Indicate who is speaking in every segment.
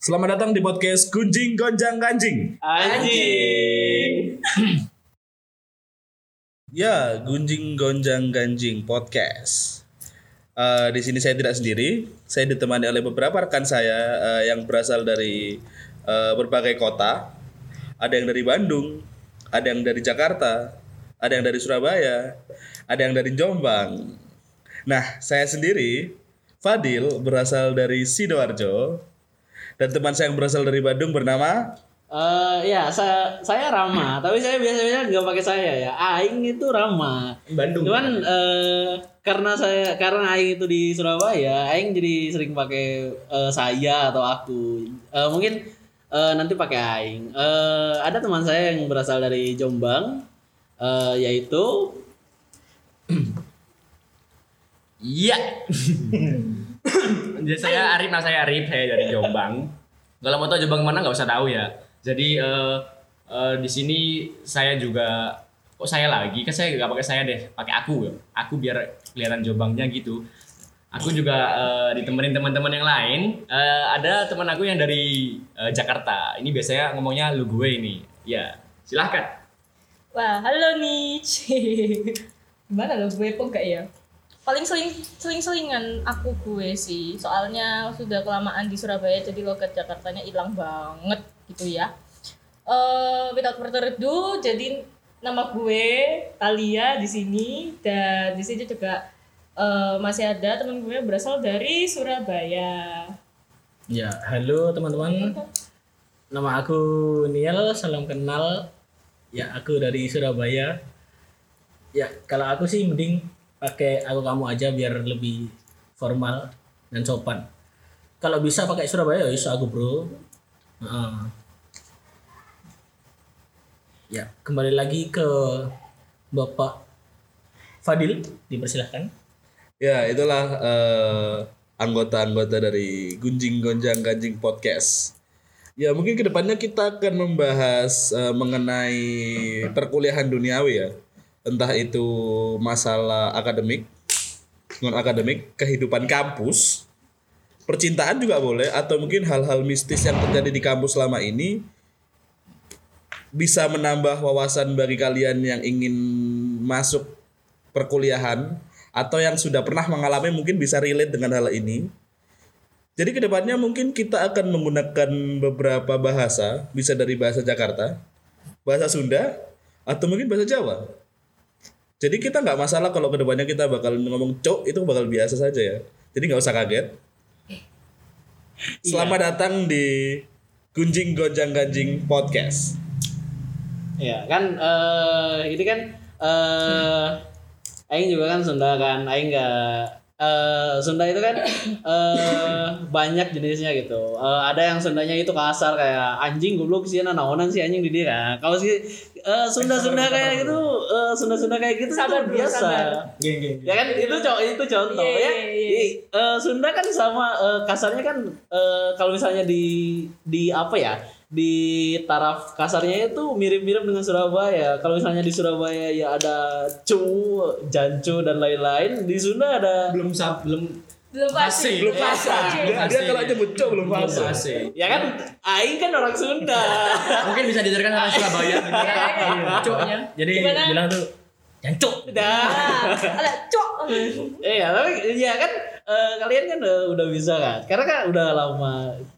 Speaker 1: Selamat datang di podcast Kunjing Gonjang Kanjing.
Speaker 2: Anjing.
Speaker 1: Ya, Gunjing Gonjang Ganjing Podcast. Eh, di sini saya tidak sendiri, saya ditemani oleh beberapa rekan saya eh, yang berasal dari eh, berbagai kota. Ada yang dari Bandung, ada yang dari Jakarta, ada yang dari Surabaya, ada yang dari Jombang. Nah, saya sendiri Fadil berasal dari Sidoarjo dan teman saya yang berasal dari Bandung bernama
Speaker 2: Eh ya, saya, saya Rama, tapi saya biasanya nggak pakai saya ya. Aing itu Rama.
Speaker 3: Bandung.
Speaker 2: Cuman eh karena saya karena Aing itu di Surabaya, Aing jadi sering pakai eh, saya atau aku. Eh mungkin eh, nanti pakai Aing. Eh ada teman saya yang berasal dari Jombang, eh yaitu
Speaker 4: Iya. Jadi saya Arif, nah saya Arif, saya dari Jombang. Kalau mau tahu Jombang mana nggak usah tahu ya. Jadi eh, eh, di sini saya juga kok saya lagi kan saya nggak pakai saya deh, pakai aku. Aku biar kelihatan Jombangnya gitu. Aku juga eh, ditemenin teman-teman yang lain. Eh, ada teman aku yang dari eh, Jakarta. Ini biasanya ngomongnya lu gue ini. Ya, silahkan.
Speaker 5: Wah, halo nih. Gimana lo gue kok gak ya? Paling seling seling selingan aku gue sih. Soalnya sudah kelamaan di Surabaya jadi logat Jakartanya hilang banget gitu ya. Eh, without further ado, jadi nama gue Talia di sini dan di sini juga eh, masih ada teman gue yang berasal dari Surabaya.
Speaker 3: Ya, halo teman-teman. Nama aku Niel, salam kenal. Ya, aku dari Surabaya. Ya, kalau aku sih mending pakai aku kamu aja biar lebih formal dan sopan. Kalau bisa pakai Surabaya, ya bisa aku bro. Heeh. Ya, kembali lagi ke Bapak Fadil, dipersilahkan.
Speaker 1: Ya, itulah eh, anggota-anggota dari Gunjing Gonjang Ganjing Podcast. Ya, mungkin kedepannya kita akan membahas eh, mengenai perkuliahan duniawi ya. Entah itu masalah akademik, non-akademik, kehidupan kampus, percintaan juga boleh, atau mungkin hal-hal mistis yang terjadi di kampus selama ini bisa menambah wawasan bagi kalian yang ingin masuk perkuliahan atau yang sudah pernah mengalami mungkin bisa relate dengan hal ini. Jadi kedepannya mungkin kita akan menggunakan beberapa bahasa, bisa dari bahasa Jakarta, bahasa Sunda, atau mungkin bahasa Jawa. Jadi kita nggak masalah kalau kedepannya kita bakal ngomong cok itu bakal biasa saja ya. Jadi nggak usah kaget. Selamat datang di Gunjing Gonjang Ganjing Podcast.
Speaker 2: Ya kan eh ini kan eh aing juga kan Sunda kan. Aing enggak eh Sunda itu kan eh banyak jenisnya gitu. Eh, ada yang Sundanya itu kasar kayak anjing goblok sih naonan sih anjing di dia. Nah, Kalau sih eh Sunda-Sunda kayak gitu, eh Sunda-Sunda kayak gitu
Speaker 5: Sabar
Speaker 2: itu
Speaker 5: dulu,
Speaker 2: biasa.
Speaker 5: sabar.
Speaker 3: Geng, geng,
Speaker 2: Ya kan itu co- itu contoh
Speaker 5: Iya,
Speaker 2: ya.
Speaker 5: iya, iya.
Speaker 2: I- eh, Sunda kan sama eh, kasarnya kan eh, kalau misalnya di di apa ya? Di taraf kasarnya itu mirip-mirip dengan Surabaya. Kalau misalnya di Surabaya ya ada cu, jancu dan lain-lain. Di Sunda ada
Speaker 4: Belum sab, belum
Speaker 5: Belum pasti.
Speaker 4: Belum pasti.
Speaker 1: Dia, dia kalau nyebut cok belum
Speaker 4: belum
Speaker 1: fase.
Speaker 4: asik.
Speaker 2: ya kan
Speaker 5: Iya.
Speaker 2: aing kan orang Sunda.
Speaker 4: Mungkin bisa diajarkan orang Surabaya gitu ya. Coknya.
Speaker 3: Jadi
Speaker 5: Gimana?
Speaker 3: bilang tuh, jancuk.
Speaker 2: Dah.
Speaker 5: Ah, ala cok.
Speaker 2: Iya, tapi ya kan eh, kalian kan udah, udah bisa kan. Karena kan udah lama.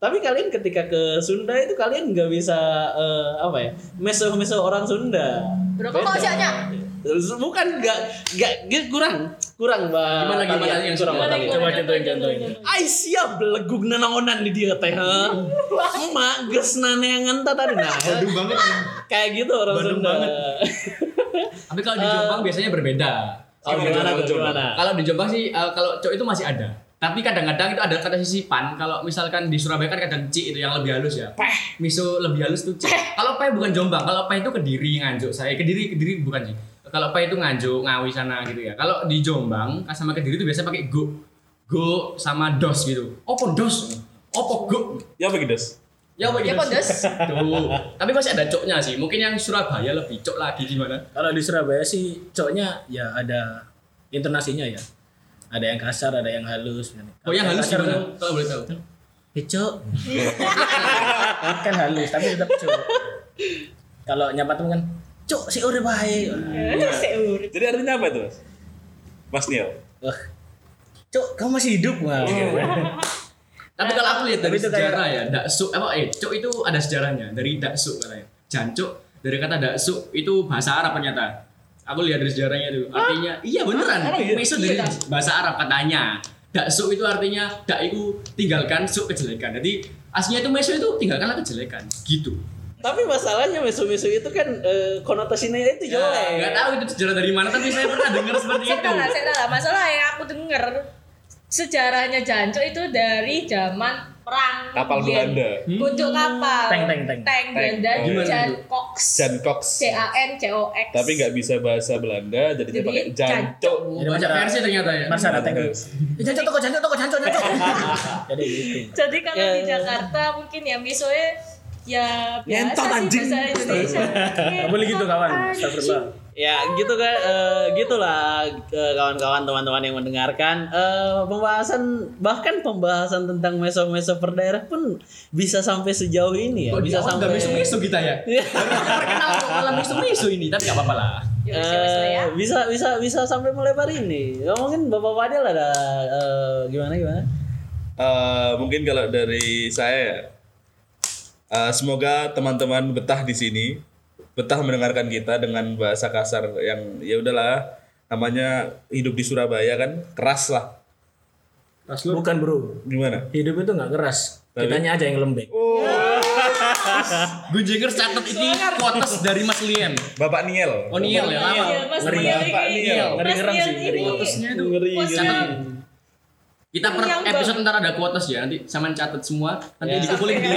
Speaker 2: Tapi kalian ketika ke Sunda itu kalian nggak bisa eh, apa ya? Meso-meso orang Sunda.
Speaker 5: Berapa kok usianya?
Speaker 2: Terus Bukan nggak nggak gitu, kurang kurang Mbak.
Speaker 4: Gimana, gimana
Speaker 2: Kalian
Speaker 4: yang
Speaker 2: kurang
Speaker 4: Sunda?
Speaker 2: Mbak.
Speaker 4: Coba
Speaker 5: contohin contohin.
Speaker 2: Ai siap belegug nanaonan di dia teh. ha? Emak geus naneangan ta tadi nah.
Speaker 3: Bandung banget.
Speaker 2: Kayak gitu orang
Speaker 3: Bandung
Speaker 2: Sunda.
Speaker 3: banget.
Speaker 4: Tapi kalau di Jombang biasanya berbeda.
Speaker 2: Oh, gimana tuh, gimana?
Speaker 4: Kalau di Jombang sih eh, kalau cok itu masih ada. Tapi kadang-kadang itu ada kata sisipan. Kalau misalkan di Surabaya kan kadang ci itu yang lebih halus ya. Peh, miso lebih halus tuh ci. Kalau peh bukan Jombang, kalau peh itu Kediri Nganjuk. Saya Kediri Kediri bukan sih. Kalau peh itu Nganjuk, Ngawi sana gitu ya. Kalau di Jombang kan sama Kediri itu biasanya pakai go. Go sama dos gitu. Opo dos? Opo go?
Speaker 1: Ya begitu. Des.
Speaker 4: Ya, apa
Speaker 5: Ya,
Speaker 4: gitu?
Speaker 5: pedes.
Speaker 4: Tuh. Tapi masih ada coknya sih. Mungkin yang Surabaya lebih cok lagi gimana?
Speaker 3: Kalau di Surabaya sih coknya ya ada intonasinya ya. Ada yang kasar, ada yang halus.
Speaker 4: Oh yang halus
Speaker 3: kasar
Speaker 4: gimana?
Speaker 3: tuh,
Speaker 4: Kalau boleh tahu.
Speaker 3: Picok. kan halus tapi tetap cuk. Kalau nyapa temen kan cuk si urip bae.
Speaker 5: Seur.
Speaker 1: Jadi artinya apa itu, Mas? Mas Niel.
Speaker 3: Wah. Cuk, kamu masih hidup wah.
Speaker 4: Tapi kalau aku lihat dari
Speaker 3: Tapi itu kayak-
Speaker 4: sejarah ya, daksu apa eh cuk itu ada sejarahnya dari daksu katanya. Jancuk dari kata daksu itu bahasa Arab ternyata. Aku lihat dari sejarahnya itu. Artinya iya beneran. Meso dari bahasa Arab katanya. Daksu itu artinya dak itu tinggalkan su kejelekan. Jadi aslinya itu meso itu tinggalkanlah kejelekan gitu.
Speaker 2: Tapi masalahnya mesu-mesu itu kan eh, konotasinya itu
Speaker 4: Ya,
Speaker 2: jelek.
Speaker 4: nggak tahu itu sejarah dari mana tapi saya pernah dengar seperti
Speaker 5: Saya
Speaker 4: itu.
Speaker 5: tahu lah, saya tahu lah. Masalah yang aku dengar sejarahnya Jancok itu dari zaman perang
Speaker 1: Kapal
Speaker 5: Yen.
Speaker 1: Belanda.
Speaker 5: Kucuk kapal.
Speaker 3: Hmm. Teng, teng, teng.
Speaker 5: Teng Belanda
Speaker 1: Teng. Oh, iya.
Speaker 4: Gimana
Speaker 5: Jan
Speaker 4: tuh?
Speaker 5: Cox.
Speaker 1: Jan Cox.
Speaker 5: C A N C O X.
Speaker 1: Tapi nggak bisa bahasa Belanda, jadi dia
Speaker 5: ah. Jadi,
Speaker 1: pakai jancok.
Speaker 4: Oh, banyak versi ternyata ya.
Speaker 3: Marsana tengok. Jancok toko jancok toko jancok jancok. Jadi gitu.
Speaker 5: Jadi kalau di
Speaker 2: Ya.
Speaker 5: Jakarta mungkin ya misoe ya biasa
Speaker 1: Ngentot,
Speaker 5: sih
Speaker 1: anjing.
Speaker 5: bahasa Indonesia.
Speaker 3: Gak boleh gitu kawan. Astagfirullah.
Speaker 2: Ya gitu kan, eh, gitulah eh, kawan-kawan teman-teman yang mendengarkan eh, pembahasan bahkan pembahasan tentang meso-meso per daerah pun bisa sampai sejauh ini ya,
Speaker 4: Kok
Speaker 2: bisa sampai
Speaker 4: misu-misu kita ya? Terkenal kok malah misu-misu ini, tapi gak apa-apa lah.
Speaker 5: Ya,
Speaker 2: Eh,
Speaker 5: misoe-misoe ya.
Speaker 2: bisa bisa bisa sampai melebar ini. Ya, mungkin bapak Fadil ada eh, gimana gimana?
Speaker 1: Eh, mungkin kalau dari saya ya, eh, semoga teman-teman betah di sini, betah mendengarkan kita dengan bahasa kasar yang ya udahlah namanya hidup di Surabaya kan keras lah.
Speaker 3: Bukan bro.
Speaker 1: Gimana?
Speaker 3: Hidup itu nggak ya? keras. Kitanya aja yang lembek.
Speaker 1: Oh,
Speaker 4: Gujengers catat ini quotes dari Mas Liam.
Speaker 1: Bapak Niel.
Speaker 4: Oniel ya lama.
Speaker 5: Iya, Mas
Speaker 3: Ngeri
Speaker 5: Niel
Speaker 1: Pak
Speaker 5: ini.
Speaker 1: Niel.
Speaker 5: Mas
Speaker 3: Ngeri-ngeri
Speaker 5: Niel
Speaker 3: sih, Iya.
Speaker 5: ini.
Speaker 4: Quotesnya itu.
Speaker 1: Ngeri,
Speaker 5: Quotesnya
Speaker 4: Kita per
Speaker 5: Yang bang-
Speaker 4: episode ntar ada quotes ya, nanti sama catat semua, nanti dikumpulin di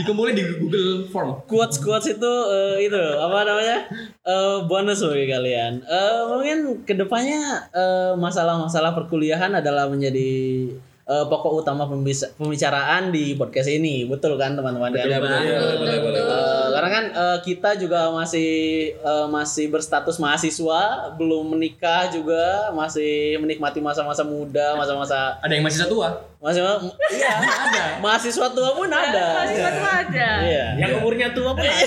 Speaker 4: dikumpulin di Google Form.
Speaker 2: quotes quotes itu eh, itu apa namanya Eh, bonus bagi kalian Eh, mungkin kedepannya eh, masalah-masalah perkuliahan adalah menjadi eh, pokok utama pembis- pembicaraan di podcast ini betul kan teman-teman
Speaker 1: Betul,
Speaker 2: Ada-
Speaker 1: betul,
Speaker 4: banget.
Speaker 1: boleh, boleh, boleh.
Speaker 2: Eh, karena kan eh, kita juga masih eh, masih berstatus mahasiswa belum menikah juga masih menikmati masa-masa muda masa-masa
Speaker 4: Ada yang masih satu ah?
Speaker 2: masih iya
Speaker 4: Ada.
Speaker 2: mahasiswa tua pun
Speaker 3: Iya.
Speaker 5: Mas
Speaker 2: ada
Speaker 5: Niel itu ada.
Speaker 2: iya
Speaker 3: Yang umurnya tua pun ada.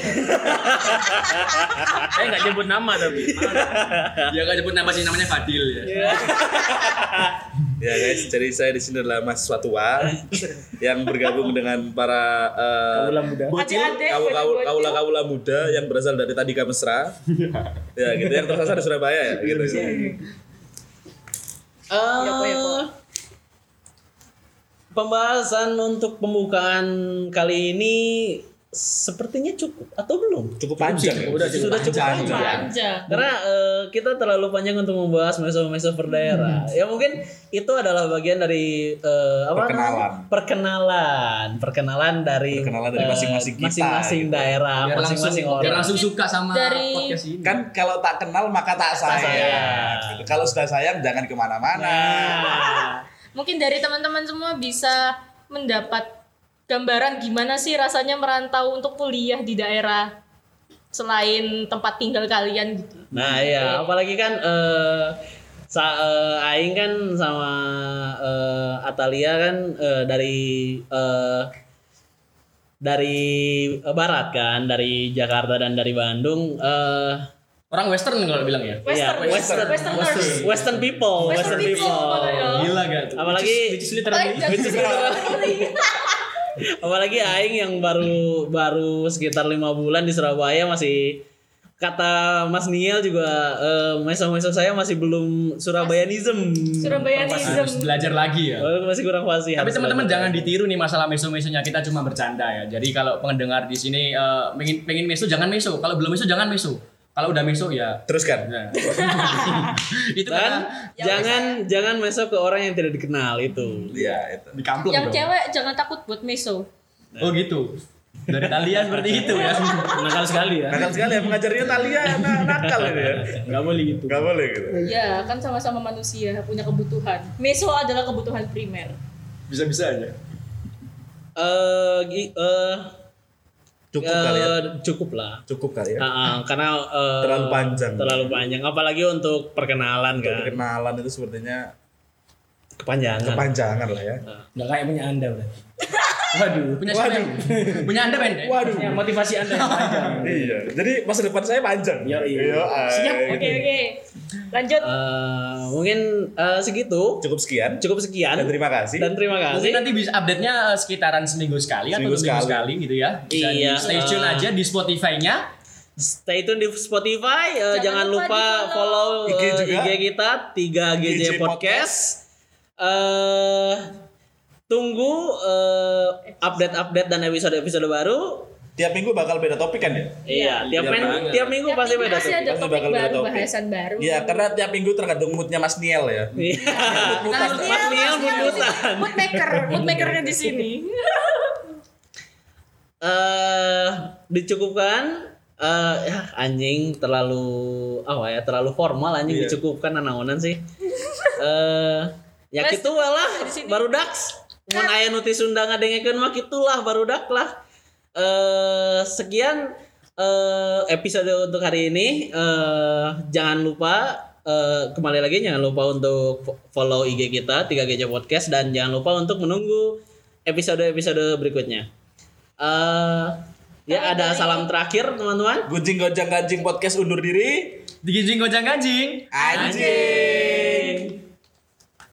Speaker 3: Saya nggak nyebut nama tapi.
Speaker 4: Ya gak nyebut nama sih namanya Fadil ya.
Speaker 1: Ya guys, jadi saya di sini adalah Mas Swatua yang bergabung dengan para eh,
Speaker 3: Ulang muda.
Speaker 1: kaula
Speaker 5: Adik-adik,
Speaker 1: kaula
Speaker 5: bocil-bocil.
Speaker 1: kaula kaula muda yang berasal dari Tadika Mesra. ya gitu yang tersasar di Surabaya ya gitu.
Speaker 5: Ya, Po, ya, Po.
Speaker 2: Eh, Pembahasan untuk pembukaan kali ini sepertinya cukup atau belum?
Speaker 1: Cukup panjang. ya?
Speaker 4: Udah,
Speaker 2: Sudah cukup panjang.
Speaker 5: Panjang.
Speaker 2: Karena eh, kita terlalu panjang untuk membahas meso-meso per daerah.
Speaker 4: Hmm.
Speaker 2: Ya mungkin itu adalah bagian dari eh, apa namanya?
Speaker 1: Perkenalan.
Speaker 2: Perkenalan, perkenalan dari
Speaker 1: Perkenalan dari
Speaker 2: eh,
Speaker 1: masing-masing kita,
Speaker 2: masing-masing
Speaker 1: gitu.
Speaker 2: daerah,
Speaker 4: Biar langsung, ya,
Speaker 2: masing-masing
Speaker 4: biar
Speaker 2: orang.
Speaker 4: langsung suka sama
Speaker 5: Dari-
Speaker 4: podcast ini.
Speaker 1: Kan kalau tak kenal maka tak sayang.
Speaker 2: sayang.
Speaker 1: Gitu. Kalau sudah sayang jangan kemana-mana.
Speaker 2: Nah,
Speaker 5: mungkin dari teman-teman semua bisa mendapat gambaran gimana sih rasanya merantau untuk kuliah di daerah selain tempat tinggal kalian gitu.
Speaker 2: Nah iya, apalagi kan eh sa eh, Aing kan sama eh, Atalia kan eh, dari eh, dari eh, barat kan, dari Jakarta dan dari Bandung. eh
Speaker 4: Orang Western kalau bilang ya.
Speaker 5: Western,
Speaker 2: iya, Western,
Speaker 5: Westerners.
Speaker 2: Western people, Oh, Western,
Speaker 5: Western people,
Speaker 2: people.
Speaker 5: makanya.
Speaker 4: Gila gak tuh?
Speaker 2: Apalagi
Speaker 3: Which is
Speaker 5: Oh. Apalagi
Speaker 3: literally
Speaker 5: dari-
Speaker 2: apalagi Aing yang baru baru sekitar lima bulan di Surabaya masih kata Mas Niel juga eh, meso-meso saya masih belum Surabayanism.
Speaker 5: Surabayanism.
Speaker 4: Harus belajar lagi ya.
Speaker 2: Walaupun masih kurang fasih.
Speaker 4: Tapi teman-teman jangan ditiru nih masalah meso-mesonya kita cuma bercanda ya. Jadi kalau pendengar di sini eh, pengen pengen meso jangan meso. Kalau belum meso jangan meso. Kalau udah meso ya.
Speaker 1: Teruskan.
Speaker 4: ya. itu
Speaker 2: dan
Speaker 4: kan
Speaker 1: "Ya,
Speaker 2: jangan jangan masuk ke orang yang tidak dikenal itu.
Speaker 1: Iya, itu.
Speaker 4: di kampung
Speaker 5: Yang
Speaker 4: dong.
Speaker 5: cewek jangan takut buat meso.
Speaker 4: Oh gitu. Dari kalian seperti itu ya.
Speaker 3: nakal sekali ya.
Speaker 1: Nakal sekali ya mengajarnya Talia na- nakal ini ya.
Speaker 3: Nggak boleh gitu.
Speaker 1: Gak boleh gitu.
Speaker 5: Ya, kan sama-sama manusia punya kebutuhan. Meso adalah kebutuhan primer.
Speaker 4: Bisa-bisa aja.
Speaker 2: Eh gi- eh,
Speaker 1: Cukup
Speaker 2: eh,
Speaker 1: kali ya.
Speaker 2: cukup lah.
Speaker 1: Cukup kali ya.
Speaker 2: Ah, ah, karena eh,
Speaker 1: Terlalu panjang.
Speaker 2: terlalu panjang apalagi untuk perkenalan
Speaker 1: Untuk
Speaker 2: kan.
Speaker 1: Perkenalan itu sepertinya
Speaker 2: Kepanjangan.
Speaker 1: kepanjangan lah ya.
Speaker 3: Nggak kayak punya anda berarti. Waduh.
Speaker 4: Punya siapa?
Speaker 1: Waduh.
Speaker 4: yang- Punya Anda pendek.
Speaker 1: Waduh.
Speaker 3: Ya, motivasi Anda yang panjang.
Speaker 1: Iya. Jadi masa depan saya panjang. iya.
Speaker 3: Iya, iya.
Speaker 1: ay.
Speaker 3: Siap.
Speaker 5: Oke oke. Lanjut.
Speaker 2: Eh, mungkin eh, segitu.
Speaker 1: Cukup sekian.
Speaker 2: Cukup sekian.
Speaker 1: Dan terima kasih.
Speaker 2: Dan terima
Speaker 4: Mungkin
Speaker 2: kasih.
Speaker 4: nanti bisa update-nya eh, sekitaran seminggu sekali atau
Speaker 1: Seminggu
Speaker 4: dua minggu
Speaker 1: sekali.
Speaker 4: sekali gitu ya. Bisa
Speaker 2: Iya.
Speaker 4: di
Speaker 5: eh.
Speaker 4: stay tune aja di Spotify-nya.
Speaker 2: Stay tune di Spotify. Eh, jangan,
Speaker 5: Jangan lupa
Speaker 2: lupa,
Speaker 5: di-follow.
Speaker 2: follow
Speaker 1: IG
Speaker 2: eh,
Speaker 1: juga.
Speaker 2: IG kita 3GJ
Speaker 1: GJ Podcast.
Speaker 2: Podcast. Eh tunggu eh, update-update dan episode-episode baru.
Speaker 1: Tiap minggu bakal beda topik kan ya?
Speaker 2: Iya,
Speaker 1: Iya
Speaker 2: tiap, minggu,
Speaker 1: banget.
Speaker 2: tiap minggu
Speaker 5: Tiap
Speaker 2: pasti
Speaker 5: minggu
Speaker 2: beda.
Speaker 5: pasti
Speaker 2: tuh.
Speaker 5: ada
Speaker 1: Pasti
Speaker 5: topik
Speaker 1: bakal ada
Speaker 5: baru,
Speaker 1: topik.
Speaker 5: bahasan baru.
Speaker 1: Iya, karena tiap minggu tergantung moodnya Mas Niel ya.
Speaker 2: Iya.
Speaker 1: Mutas,
Speaker 5: Mas
Speaker 2: Mas Niel buntutan.
Speaker 5: Mood maker, mood makernya di sini.
Speaker 2: eh dicukupkan eh ya, anjing terlalu apa ya terlalu formal anjing
Speaker 1: Iya.
Speaker 2: dicukupkan anak-anak sih eh ya
Speaker 5: Mas,
Speaker 2: gitu lah
Speaker 5: di sini.
Speaker 2: baru daks mun aya nu teu sunda ngadengekeun mah kitulah baru dak lah eh sekian eh episode untuk hari ini eh jangan lupa eh, kembali lagi jangan lupa untuk fo- follow IG kita 3GJ Podcast dan jangan lupa untuk menunggu episode-episode berikutnya. Eh ya ada salam terakhir teman-teman.
Speaker 1: Gujing gonjang ganjing podcast undur diri.
Speaker 4: Digijing gojang ganjing.
Speaker 1: Anjing.